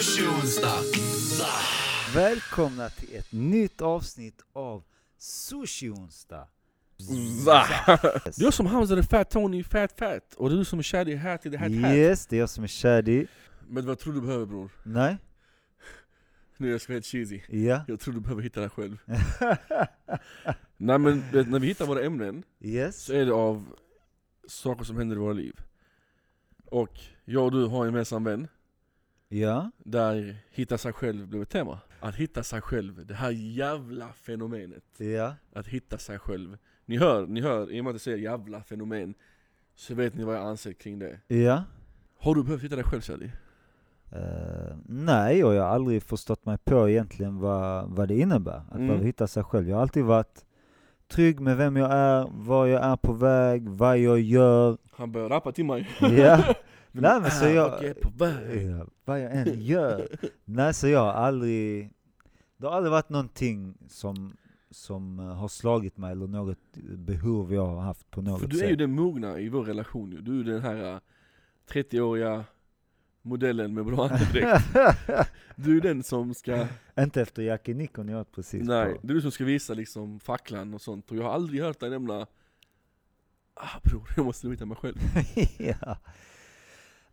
onsdag. Välkomna till ett nytt avsnitt av Sushi Onsdag. Va? Det är jag som Hamza the Fat Tony, Fat Fat. Och det är du som är kär i Hat i det här hat. Yes, det är jag som är Shadi. Men vad tror du behöver bror? Nej? Nu jag ska vara helt cheesy. Ja? Jag tror du behöver hitta det här själv. Nej men du vet, när vi hittar våra ämnen Yes? så är det av saker som händer i våra liv. Och jag och du har en gemensam vän Ja? där hitta sig själv blev ett tema. Att hitta sig själv, det här jävla fenomenet. Ja? Att hitta sig själv. Ni hör, ni hör, i och med att jag säger jävla fenomen så vet ni vad jag anser kring det. Ja? Har du behövt hitta dig själv Shadi? Eh, nej, och jag har aldrig förstått mig på egentligen vad, vad det innebär att Mm. behöva hitta sig själv. Jag har alltid varit trygg med vem jag är, var jag är på väg, vad jag gör. Han börjar rappa till mig. Ja? Nej, men så Ah, jag- vart är på väg. Ja, vad jag än gör. Nej, så jag har aldrig... Det har aldrig varit någonting som, som eh, har slagit mig eller något behov jag har haft på något För du sätt. är ju den mogna i vår relation ju. Du är den här äh, 30-åriga modellen med bra andedräkt. Du är den som ska, Inte efter Jackie Nickon jag åt precis nej, på. du är den som ska visa liksom facklan och sånt. Och jag har aldrig hört dig nämna Ah bror, jag måste nog hitta mig själv. ja.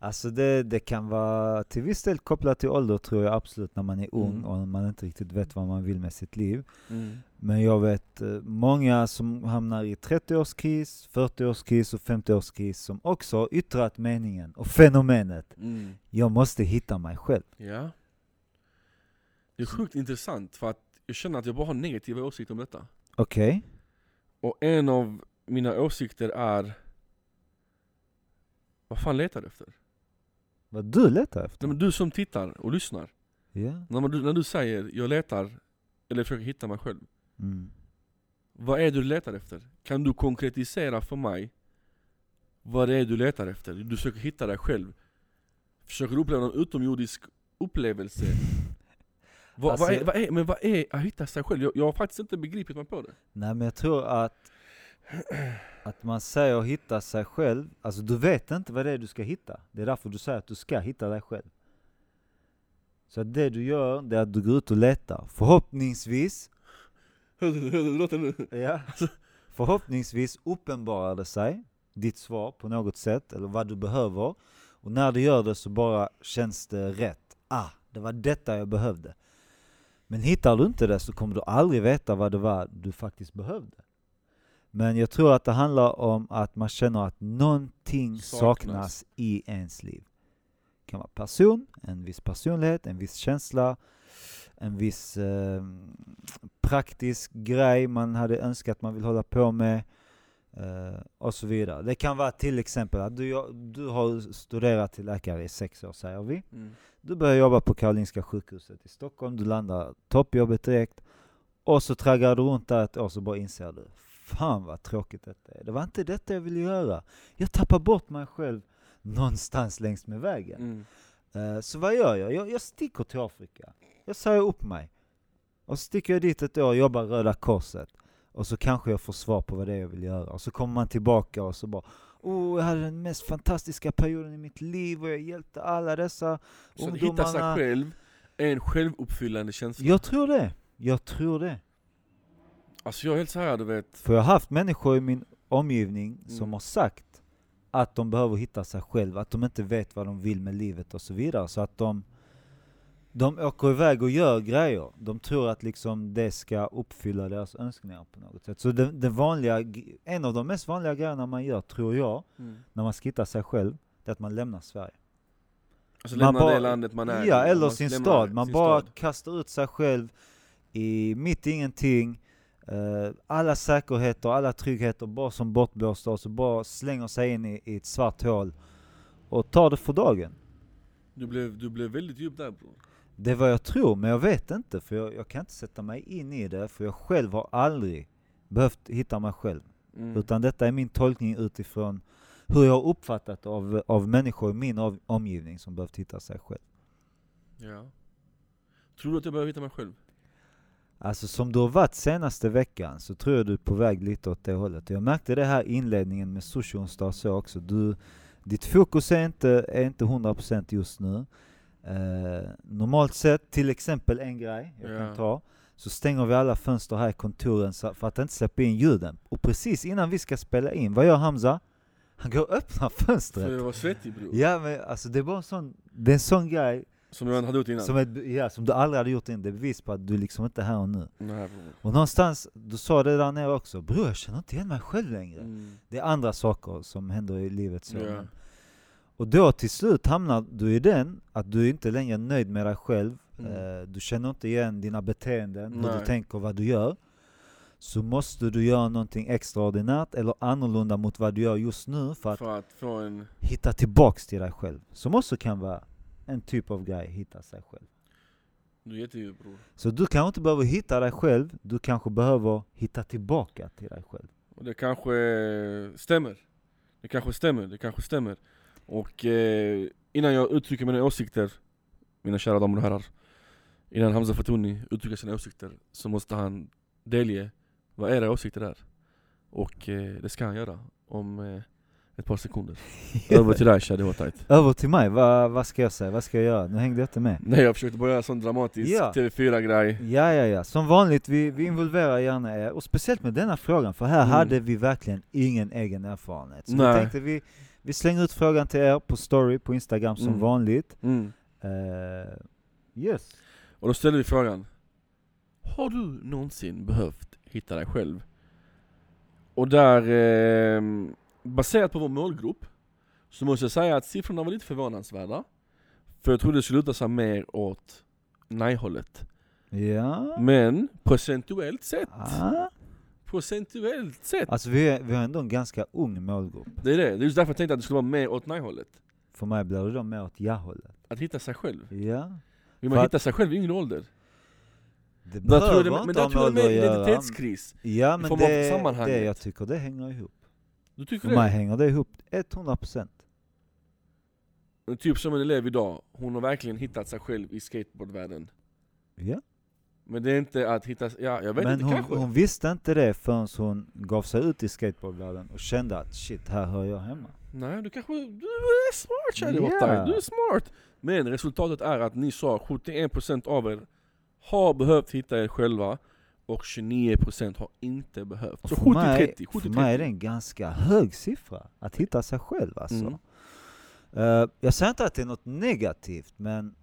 Alltså det, det kan vara till viss del kopplat till ålder tror jag absolut när man är ung Mm. och man inte riktigt vet vad man vill med sitt liv. Men jag vet eh, många som hamnar i 30-årskris, 40-årskris och 50-årskris som också har yttrat meningen och fenomenet Mm. Jag måste hitta mig själv. Ja. Det är sjukt intressant för att jag känner att jag bara har negativa åsikter om detta. Okej? Och en av mina åsikter är Vad fan letar du efter? Vad du letar efter? Nej, men du som tittar och lyssnar, Ja. när, man, när du säger 'jag letar' eller 'försöker hitta mig själv' Mm. Vad är det du letar efter? Kan du konkretisera för mig vad det är du letar efter? Du försöker hitta dig själv Försöker du uppleva någon utomjordisk upplevelse? Vad, Alltså- vad är, vad är, men vad är att hitta sig själv? Jag, jag har faktiskt inte begripit mig på det Nej men jag tror att, att man säger hitta sig själv, alltså du vet inte vad det är du ska hitta. Det är därför du säger att du ska hitta dig själv. Så att det du gör, det är att du går ut och letar. Förhoppningsvis, Hörde du hur det låter nu? ja, Alltså, förhoppningsvis uppenbarar det sig, ditt svar på något sätt, eller vad du behöver. Och när du gör det så bara känns det rätt. Ah, det var detta jag behövde. Men hittar du inte det så kommer du aldrig veta vad det var du faktiskt behövde. Men jag tror att det handlar om att man känner att någonting saknas, Saknas. i ens liv. Det kan vara person, en viss personlighet, en viss känsla, en viss eh, praktisk grej man hade önskat man vill hålla på med. Eh, och så vidare. Det kan vara till exempel att du, jag- du har studerat till läkare i sex år säger vi. Mm. Du börjar jobba på Karolinska sjukhuset i Stockholm, du landar toppjobbet direkt och så traggar du runt där ett år så bara inser du Fan vad tråkigt detta är. Det var inte detta jag ville göra. Jag tappar bort mig själv någonstans längs med vägen. Mm. Eh, Så vad gör jag? jag? Jag sticker till Afrika. Jag säger upp mig. Och så sticker jag dit ett år och jobbar Röda Korset. Och så kanske jag får svar på vad det är jag vill göra. Och så kommer man tillbaka och så bara Oh, jag hade den mest fantastiska perioden i mitt liv och jag hjälpte alla dessa Så att hitta sig ungdomarna. själv är en självuppfyllande känsla Jag tror det. Jag tror det. Alltså jag är helt såhär du vet För jag har haft människor i min omgivning som Mm. har sagt att de behöver hitta sig själva, att de inte vet vad de vill med livet och så vidare. Så att de, de åker iväg och gör grejer. De tror att liksom det ska uppfylla deras önskningar på något sätt. Så det, det vanliga, g- en av de mest vanliga grejerna man gör, tror jag, när man ska hitta sig själv, det är att man lämnar Sverige. Alltså Man lämna bara- det landet man är i. ja, eller Man sin lämnar stad. Man sin bara stad. kastar ut sig själv i mitt i ingenting. Eh, alla säkerheter, alla tryggheter, bara som bortblåsta och så bara slänger sig in i, i ett svart hål och tar det för dagen. Du blev, du blev väldigt djup där bror Det är vad jag tror, men jag vet inte för jag, jag kan inte sätta mig in i det för jag själv har aldrig behövt hitta mig själv. Mm. Utan detta är min tolkning utifrån hur jag har uppfattat av, av människor i min av, omgivning som behövt hitta sig själv. Ja. Tror du att jag behöver hitta mig själv? Alltså som du har varit senaste veckan så tror jag du är på väg lite åt det hållet. Jag märkte det här i inledningen med sushi onsdag så också. Du, ditt fokus är inte, är inte 100% just nu. Eh, normalt sett, till exempel en grej jag Ja. kan ta, så stänger vi alla fönster här i kontoren så- för att inte släppa in ljuden. Och precis innan vi ska spela in, vad gör Hamza? Han går och öppnar För fönstret. jag var svettig bror. Ja men alltså det är bara en sån, det är en sån grej Som jag hade gjort innan. som, ett, ja, som du aldrig hade gjort innan, det är bevis på att du liksom inte är här och nu. Nej, bror. Och någonstans, du sa det där nere också, bror jag känner inte igen mig själv längre. Mm. Det är andra saker som händer i livet så. Ja. men- Och då till slut hamnar du i den att du inte längre är nöjd med dig själv. Mm. Eh, Du känner inte igen dina beteenden, hur Nej. du tänker, vad du gör. Så måste du göra någonting extraordinärt eller annorlunda mot vad du gör just nu för att För att få en... hitta tillbaks till dig själv. Som också kan vara en typ av grej, hitta sig själv. Du är jättedjup bror. Så du kanske inte behöver hitta dig själv, du kanske behöver hitta tillbaka till dig själv. Och det kanske stämmer. Det kanske stämmer, det kanske stämmer. Och eh, innan jag uttrycker mina åsikter, mina kära damer och herrar. Innan Hamza Fatouni uttrycker sina åsikter så måste han delge vad era åsikter är. Och eh, det ska han göra om eh, ett par sekunder. Över till dig Shah, det var tajt. Över till mig, vad, vad ska jag säga, vad ska jag göra? Nu hängde jag inte med. Nej jag försökte bara göra en sån dramatisk Ja. TV4-grej. Ja, ja, ja. Som vanligt, vi, vi involverar gärna er. Och speciellt med denna frågan, för här Mm. hade vi verkligen ingen egen erfarenhet. Så Nej. vi tänkte vi, vi slänger ut frågan till er på story på Instagram som Mm. vanligt. Mm. Eh, yes. Och då ställer vi frågan. Har du någonsin behövt hitta dig själv? Och där, eh, baserat på vår målgrupp, så måste jag säga att siffrorna var lite förvånansvärda. För jag trodde det skulle luta sig mer åt nej-hållet. Ja. Men procentuellt sett, Ah. procentuellt sett, Alltså vi, är, vi har ändå en ganska ung målgrupp. det är det. Det är just därför jag tänkte att det skulle vara mer åt nej-hållet. För mig blir det då mer åt ja-hållet. Att hitta sig själv. Ja. Vill man För att- hitta sig själv i yngre ålder? Det Där tror jag behöver det, men inte där ha tror jag med det är att mer göra. identitetskris. Ja, men form av det, sammanhanget. det, jag tycker det hänger ihop. Du tycker För det? mig hänger det ihop 100%. Typ som en elev idag, hon har verkligen hittat sig själv i skateboardvärlden. Ja. Men det är inte att hitta, ja jag vet Men inte hon, kanske. hon visste inte det förrän hon gav sig ut i skateboardvärlden och kände att shit, här hör jag hemma. Nej du kanske, du är smart kärlek Ja. yeah. du är smart! Men resultatet är att ni sa 71% av er har behövt hitta er själva och 29% har inte behövt. Så Och för, mig, 70-30, för mig är det 70-30. en ganska hög siffra, att hitta sig själv alltså. Mm. Eh, jag säger inte att det är något negativt, men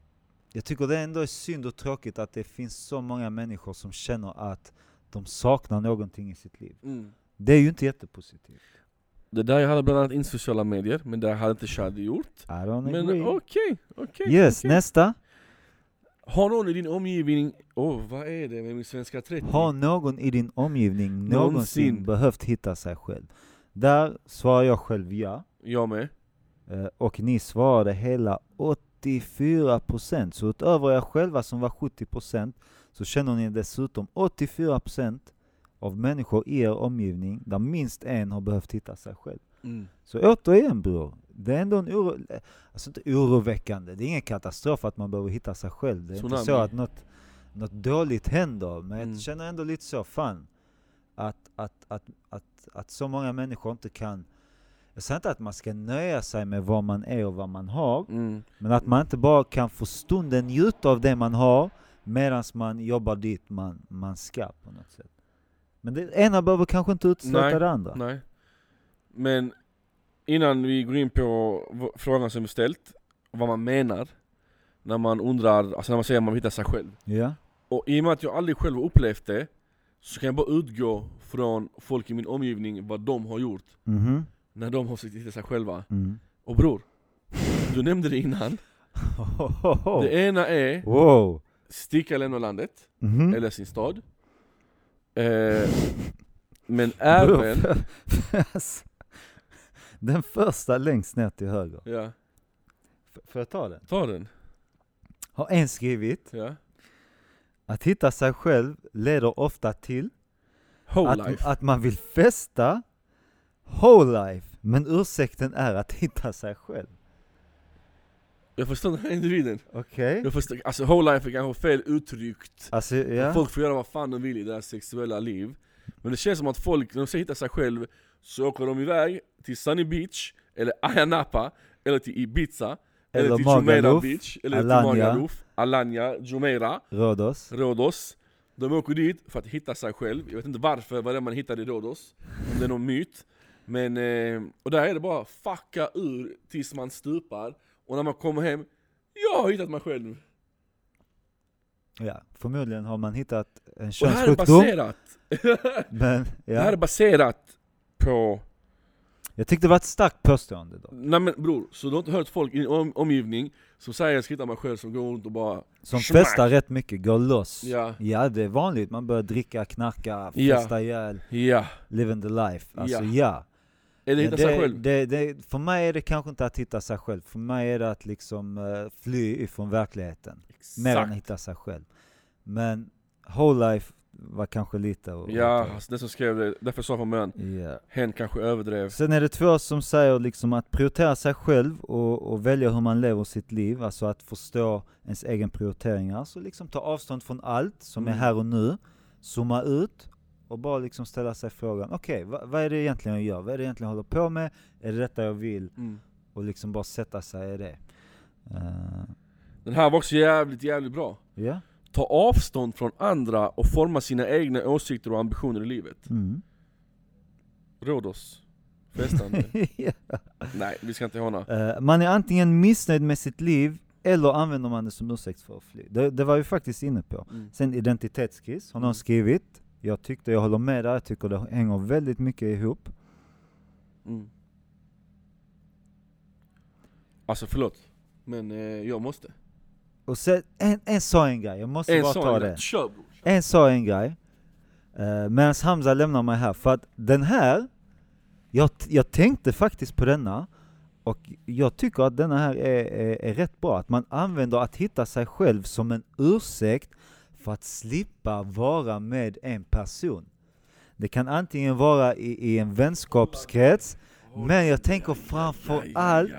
jag tycker det ändå är synd och tråkigt att det finns så många människor som känner att de saknar någonting i sitt liv. Mm. Det är ju inte jättepositivt. Det där jag hade bland annat in sociala medier, men det hade inte Shadi gjort. I don't Men agree. okej, okej. yes, okej. nästa. Har någon i din omgivning, åh vad är det med min svenska 30? Har någon i din omgivning någonsin, Någonsin. behövt hitta sig själv? Där svarar jag själv ja. Jag med. Eh, Och ni svarade hela 84%. Så utöver er själva som var 70% så känner ni dessutom 84% av människor i er omgivning där minst en har behövt hitta sig själv. Mm. Så återigen bror, det är ändå en oro, eh, alltså inte oroväckande, det är ingen katastrof att man behöver hitta sig själv. Det är inte så Tsunami. att något, något dåligt händer, men Mm. jag känner ändå lite så, fan, att, att, att, att, att, så många människor inte kan jag säger inte att man ska nöja sig med vad man är och vad man har, Mm. men att man inte bara kan för stunden njuta av det man har medan man jobbar dit man, man ska på något sätt. Men det ena behöver kanske inte Nej, utesluta det andra. Nej. Men innan vi går in på v- frågan som vi ställt, vad man menar när man undrar, alltså när man säger att man vill hitta sig själv. Ja. Och i och med att jag aldrig själv har upplevt det, så kan jag bara utgå från folk i min omgivning, vad de har gjort Mhm. när de har försökt hitta sig själva. Mm. Och bror, du nämnde det innan. Det ena är Wow! sticka eller lämna landet. Mhm. eller sin stad. Eh, men även... Bror, alltså, Den första längst ner till höger. Ja, F- Får jag ta den? ta den. Har en skrivit Ja. att hitta sig själv leder ofta till Whole att, life. att man vill festa whole life, men ursäkten är att hitta sig själv. Jag förstår den här individen. Okej? Jag förstår, alltså whole life är kanske fel uttryckt. Alltså, ja. Folk får göra vad fan de vill i deras sexuella liv. Men det känns som att folk, när de ska hitta sig själv, så åker de iväg till Sunny Beach, eller Ayia Napa, eller till Ibiza, Eller Eller till Jumeirah Magaluf, Beach, eller Alanya. till Magaluf, Alanya, Jumeirah, Rhodos. Rhodos. De åker dit för att hitta sig själv. Jag vet inte varför, vad det är man hittar i Rhodos. Om det är någon myt. Men, eh, och där är det bara fucka ur tills man stupar. Och när man kommer hem, jag har hittat mig själv. Ja, förmodligen har man hittat en Och det här är könssjukdom. baserat, Men det här ja, är baserat på jag tyckte det var ett starkt påstående då. Nej men bror, så du har inte hört folk i din om, omgivning som säger jag ska hitta mig själv som går runt och bara Som Smack. festar rätt mycket, går loss. Ja, Ja, det är vanligt. Man börjar dricka, knarka, Ja. festa ihjäl, ja, living the life. Alltså Ja. ja. eller Men hitta sig det, själv det, det, för mig är det kanske inte att hitta sig själv. För mig är det att liksom eh, fly ifrån verkligheten. Mer än att Exakt. hitta sig själv. Men whole life var kanske lite att- Ja, alltså, den som skrev det, därför sa jag från början, Ja. hen kanske överdrev Sen är det två som säger liksom att prioritera sig själv och, och välja hur man lever sitt liv, alltså att förstå ens egen prioriteringar. Så liksom ta avstånd från allt som Mm. är här och nu, zooma ut och bara liksom ställa sig frågan, okej, va- vad är det egentligen jag gör? Vad är det egentligen jag håller på med? Är det detta jag vill? mm. Och liksom bara sätta sig i det. Eh, Den här var också jävligt, jävligt bra Ja, Ta avstånd från andra och forma sina egna åsikter och ambitioner i livet mm. Råd oss Festande Ja. Nej, vi ska inte håna Eh, Man är antingen missnöjd med sitt liv, eller använder man det som ursäkt för att fly. Det, det var vi faktiskt inne på. mm. Sen identitetskris har Mm. någon skrivit. Jag tyckte, jag håller med där, jag tycker det hänger väldigt mycket ihop. Mm. Alltså förlåt, men eh, jag måste Och sen, en, en sa en grej, jag måste En bara ta sån, det. kör bror! En sa en grej, uh, medan Hamza lämnar mig här, för att den här, jag, t- jag tänkte faktiskt på denna, och jag tycker att denna här är, är, är rätt bra, att man använder att hitta sig själv som en ursäkt för att slippa vara med en person. Det kan antingen vara i, i en vänskapskrets, Men jag tänker framför allt-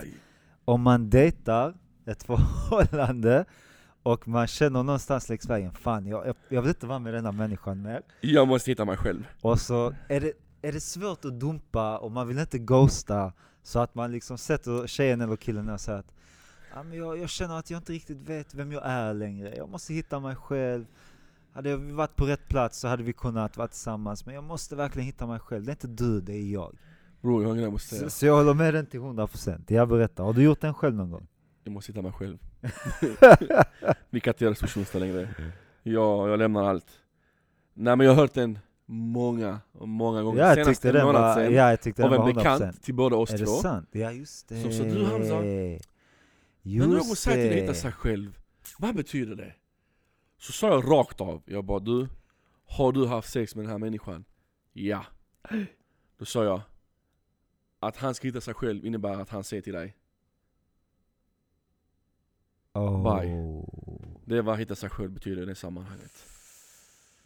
om man dejtar ett förhållande och man känner någonstans längs vägen, fan jag, jag, jag vill inte vara med den här människan mer. Jag måste hitta mig själv. Och så är det, är det svårt att dumpa och man vill inte ghosta så att man liksom sätter tjejen eller killen och säger att ja, men jag, jag känner att jag inte riktigt vet vem jag är längre, jag måste hitta mig själv. Hade jag varit på rätt plats så hade vi kunnat vara tillsammans men jag måste verkligen hitta mig själv, det är inte du, det är jag. Bror, jag har en grej jag måste Så, säga. så jag håller med den till 100%, jag berättar. Har du gjort den själv någon gång? Jag måste hitta mig själv. Vi kan inte göra Storsundsdag längre. Ja, jag lämnar allt. Nej men jag har hört den många, många gånger. Ja, jag Senast tyckte en den månad var, sen, ja, jag tyckte den av var 100%. en bekant till båda oss Är det två. sant? Ja, just det. Som sa, "Du, Hamza, Just När någon säger till dig det. hitta sig själv, vad betyder det? Så sa jag rakt av, jag bara du, har du haft sex med den här människan? Ja. Då sa jag, att han ska hitta sig själv innebär att han säger till dig, Oh. Bye. Det är vad hitta sig själv betyder i det sammanhanget.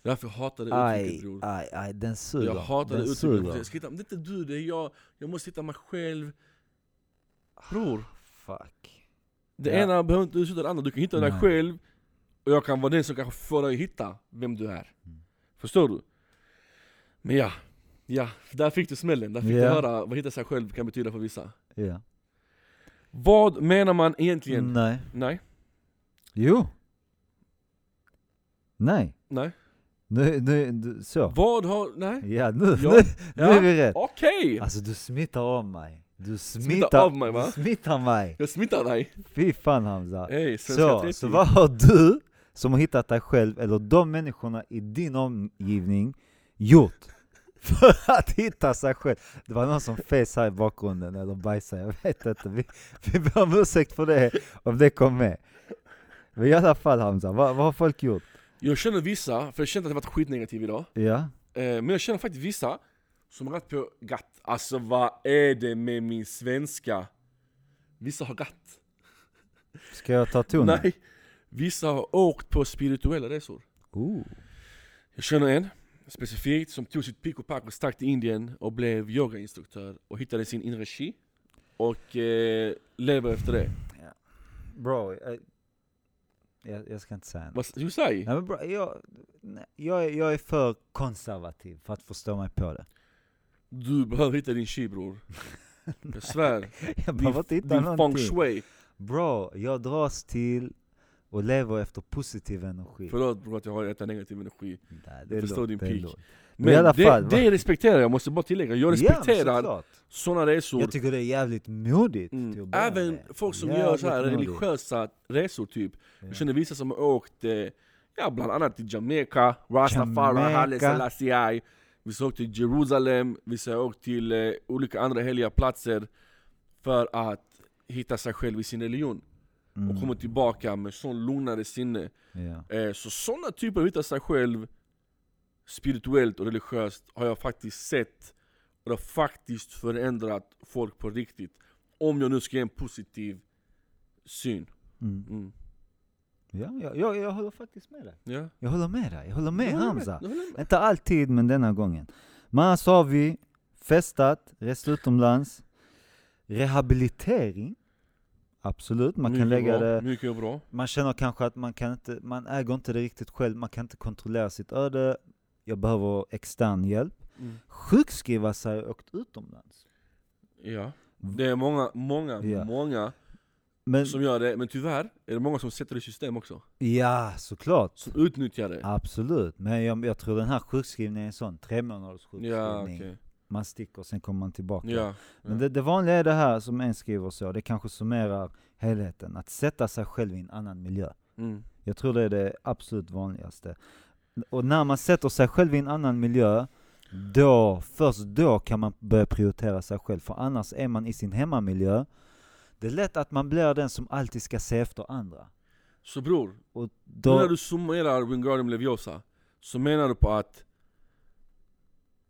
Därför hatar jag det Aj, alltså, uttrycket bror. aj, aj, den suger. Jag hatar det den uttrycket. Jag suger. ska hitta, om det är inte du, det är jag. Jag måste hitta mig själv. Bror, Fuck. det Ja. ena behöver inte utesluta det andra. Du kan hitta dig Nej. själv. Och jag kan vara den som kanske får dig att hitta vem du är. Mm. Förstår du? Men ja, ja, där fick du smällen. Där fick du Ja. höra vad hitta sig själv kan betyda för vissa. Ja. Vad menar man egentligen? Nej. Nej, Jo. Nej. nej. Nu, nu, du- så. Vad har... Nej. Ja, nu, Ja. nu, nu är Ja. vi rätt. Okej! Alltså du smittar av mig. Du smittar, av mig, va? Du smittar mig. Jag smittar dig. Fy fan Hamza. Ey, Svenska Så, 30. så vad har du som har hittat dig själv, eller de människorna i din omgivning, gjort för att hitta sig själv? Det var någon som fes här i bakgrunden, eller bajsade, jag vet inte. Vi, vi ber om ursäkt för det, om det kom med. Men i alla fall Hamza, vad, vad har folk gjort? Jag känner vissa, för jag känner att jag varit skitnegativ idag Ja, eh, Men jag känner faktiskt vissa som har gatt på gatt Alltså vad är det med min svenska? Vissa har gatt ska jag ta tonen? Nej! Vissa har åkt på spirituella resor Oh. Jag känner en specifikt som tog sitt pick och pack och stack till Indien och blev yogainstruktör och hittade sin inre chi och eh, lever efter det. Bro, jag, jag, jag ska inte säga något. Vad ska jag säga? Nej, men bra, jag, nej, jag, är- jag är för konservativ för att förstå mig på det. Du behöver hitta din chi bror. Jag svär. Jag behöver inte Din, hitta din feng någonting. shui. Bro, jag dras till och lever efter positiv energi. Förlåt bror att jag har detta negativ energi. Nej, det är förstår lågt, din det är peak. lågt. Men i Men alla fall, va? det, det respekterar jag, måste bara tillägga. Jag ja, respekterar såklart. sådana resor. Jag tycker det är jävligt modigt. till att Mm. börja Även med. folk som Jävligt gör så här modigt. religiösa resor typ. Ja. Jag känner vissa som har åkt, eh, ja bland annat till Jamaica, Rastafari, Jamaica. Haile Selassie. Vissa har åkt till Jerusalem, vissa har åkt till eh, olika andra heliga platser för att hitta sig själv i sin religion. Mm. Och komma tillbaka med sån lugnare sinne. Ja. Eh, så sådana typer av hitta sig själv spirituellt och religiöst har jag faktiskt sett och det har faktiskt förändrat folk på riktigt. Om jag nu ska ge en positiv syn. Mm. Mm. Ja, ja, ja, jag håller faktiskt med dig. Ja. Jag håller med dig. Jag håller Jag med håller Hamza. jag håller med. Inte alltid, men denna gången. Men annars har vi festat, rest utomlands, rehabilitering. Absolut, man kan Mycket lägga bra, det... Mycket bra. Man känner kanske att man kan inte, man äger inte det riktigt själv, man kan inte kontrollera sitt öde. Jag behöver extern hjälp. Mm. Sjukskriva sig och åkt utomlands. Ja. Det är många, många, Ja. många Men som gör det. Men tyvärr är det många som sätter det i system också. ja, såklart. Som utnyttjar det. Absolut, men jag, jag tror den här sjukskrivningen är en sån, tre månaders sjukskrivning. Ja, okej. Man sticker, sen kommer man tillbaka. Ja. Men det, det vanliga är det här som en skriver så, det kanske summerar helheten. Att sätta sig själv i en annan miljö. Mm. Jag tror det är det absolut vanligaste. Och när man sätter sig själv i en annan miljö, då, först då kan man börja prioritera sig själv. För annars är man i sin hemmamiljö. Det är lätt att man blir den som alltid ska se efter andra. Så bror, Och Då... då, När du summerar Wingardium Leviosa, så menar du på att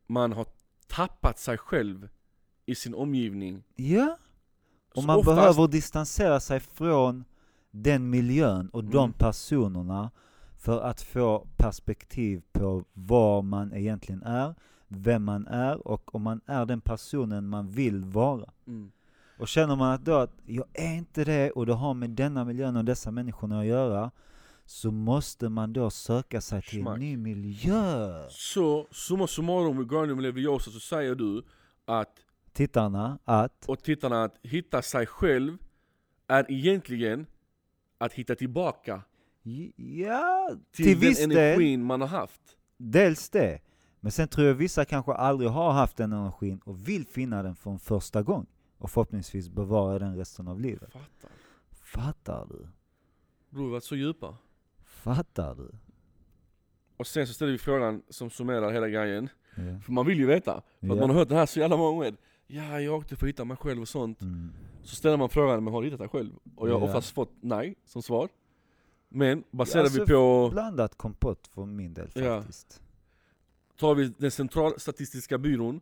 man har tappat sig själv i sin omgivning. ja, och Så man oftast- behöver distansera sig från den miljön och de Mm. personerna för att få perspektiv på vad man egentligen är, vem man är och om man är den personen man vill vara. Mm. Och känner man att då att jag är inte det och det har med denna miljön och dessa människorna att göra så måste man då söka sig till Schmack. en ny miljö. Så summa summarum Wingardium Leviosa så säger du att, Tittarna, att... och tittarna att hitta sig själv är egentligen att hitta tillbaka j- Ja, till, till viss den del. energin man har haft. Dels det. Men sen tror jag vissa kanske aldrig har haft den energin och vill finna den från första gång. Och förhoppningsvis bevara den resten av livet. Fattar. Fattar du? Bror vi har varit så djupa. Fattar du? Och sen så ställer vi frågan som summerar hela grejen. Ja. För man vill ju veta. För Ja. att man har hört den här så jävla många gånger. Ja, jag åkte för att hitta mig själv och sånt. Mm. Så ställer man frågan, men har du hittat dig själv? Och jag har Ja. oftast fått nej som svar. Men baserar alltså, vi på, Blandat kompott för min del Ja. faktiskt. tar vi den centralstatistiska byrån,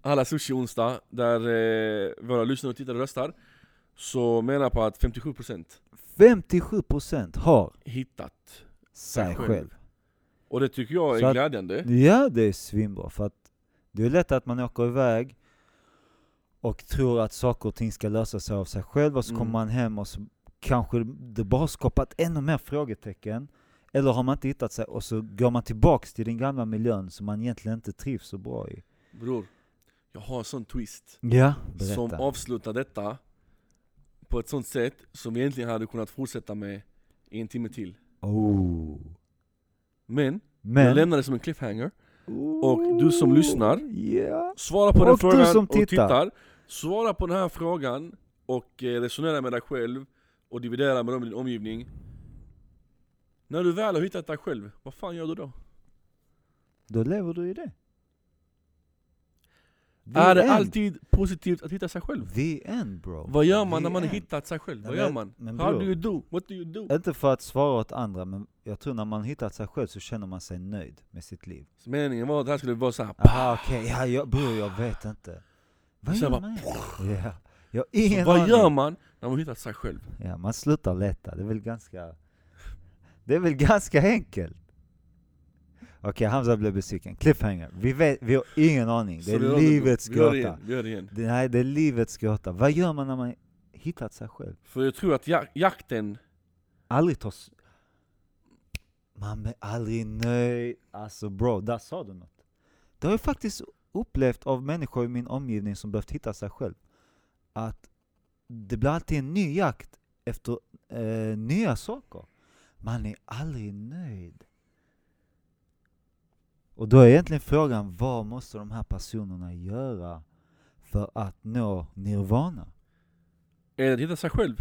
alla sushi onsdag, där eh, våra lyssnare och tittare röstar, så menar på att 57% 57% har hittat. sig själv. själv. Och det tycker jag är Så att- glädjande. Ja, det är svinbra. För att det är lätt att man åker iväg och tror att saker och ting ska lösa sig av sig själv och så Mm. kommer man hem och så kanske det bara har skapat ännu mer frågetecken. Eller har man inte hittat sig och så går man tillbaks till den gamla miljön som man egentligen inte trivs så bra i. Bror, jag har en sån twist. Ja, berätta. Som avslutar detta på ett sånt sätt som vi egentligen hade kunnat fortsätta med i en timme till. oh. Men, jag Men... lämnar det som en cliffhanger. och du som lyssnar, Ja. Svara på den Och du frågan som och tittar. tittar. Svara på den här frågan och eh, resonera med dig själv och dividera med dem i din omgivning. När du väl har hittat dig själv, vad fan gör du då? Då lever du i det. The är det end. alltid positivt att hitta sig själv? The end bro. Vad gör man The när man har end. hittat sig själv? Nej, Vad gör men- man? men How bror. do you do? What do you do? Inte för att svara åt andra, men jag tror när man hittat sig själv så känner man sig nöjd med sitt liv. Så meningen var att det här skulle vara såhär, Aha, okej, ja, jag, bror jag vet inte. Vad Ah. Så gör jag man? Ja, jag har ingen vad aning. gör man när man har hittat sig själv? Ja, man slutar leta, det är väl ganska... Det är väl ganska enkelt? Okej, Hamza blev besviken. Cliffhanger. Vi, vet, vi har ingen aning. Det Så vi gör är det, bror. livets Vi gör det gåta. igen, vi gör det igen. Det- Nej, det är livets gåta. Vad gör man när man hittat sig själv? För jag tror att jak- jakten, aldrig tar... s- Man är aldrig nöjd. Alltså bro, där sa du något. Det har jag faktiskt upplevt av människor i min omgivning som behövt hitta sig själv. Att det blir alltid en ny jakt efter eh, nya saker. Man är aldrig nöjd. Och då är egentligen frågan, vad måste de här personerna göra för att nå nirvana? Eller att hitta sig själv.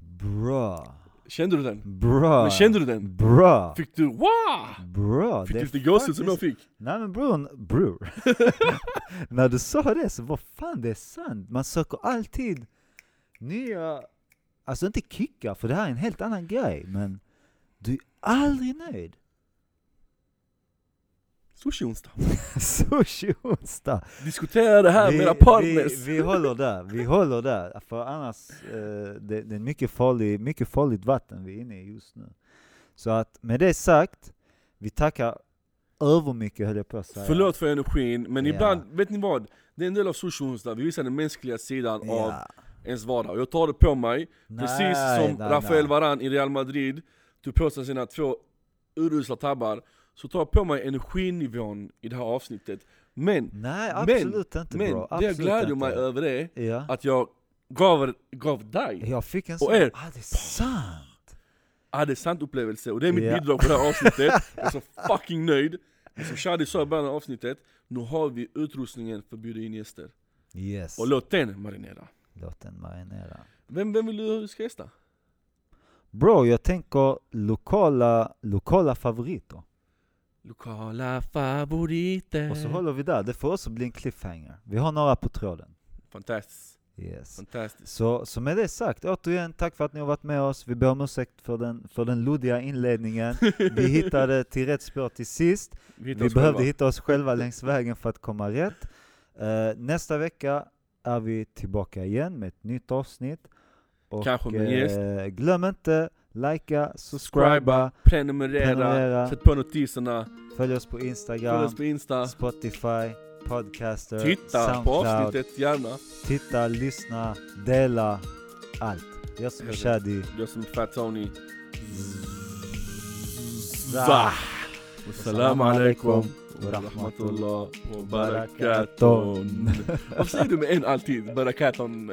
Bra. Kände du den? Bra. Men kände du den? Bra. Fick du wow? Bra. Fick Det du är lite gåshud som jag faktiskt- fick? Nej men bror, bror. När du sa det så, vad fan det är sant. Man söker alltid nya, alltså inte kickar för det här är en helt annan grej, men du är aldrig nöjd. Sushi-onsdag. Sushi-onsdag. Diskutera det här med era vi, partners. vi håller där, vi håller där. För annars, eh, det, det är mycket, farlig, mycket farligt vatten vi är inne i just nu. Så att med det sagt, vi tackar övermycket höll jag på att säga. Förlåt för energin, men Ja. ibland, vet ni vad? Det är en del av sushi-onsdag, vi visar den mänskliga sidan av Ja. ens vardag. Jag tar det på mig, precis Nej, som nej, Rafael nej. Varan i Real Madrid tog på sig sina två urusla tabbar, så tar jag på mig energinivån i det här avsnittet. Men, Nej, Men- absolut inte men bro. det Absolut jag gläder inte. mig över är Ja. att jag gav, er- gav dig, Jag fick en sån... er. Ah, det är sant! ja. det är sant upplevelse, och det är mitt Ja. bidrag på det här avsnittet. jag är så fucking nöjd. Och Som Shadi sa i början av avsnittet, nu har vi utrustningen för att bjuda in gäster. Yes. Och låt den marinera. Låt den marinera. Vem, vem vill du ska gästa? Bro, jag tänker lokala, lokala favoriter. Lokala favoriter. Och så håller vi där. Det får också bli en cliffhanger. Vi har några på tråden. Fantastiskt, Yes. fantastiskt. Så, så med det sagt, återigen tack för att ni har varit med oss. Vi ber om ursäkt för den, för den luddiga inledningen. Vi hittade till rätt spår till sist. Vi, hittar Vi oss behövde själva. hitta oss själva längs vägen för att komma rätt. Eh, nästa vecka är vi tillbaka igen med ett nytt avsnitt. Och, Kanske med en gäst. eh, glöm inte, likea, subscriba, prenumerera, prenumerera. sätt på notiserna, följ oss på följ Instagram, oss på Insta, Spotify, Podcaster, titta på Soundcloud. avsnittet gärna. Titta, lyssna, dela, allt. Jag som är Shadi. Jag som är Fat Tony. Zah. Zah! Assalamu alaikum wa إيه rahmatullah wa barakatun. Varför säger du med en alltid? Barakatun.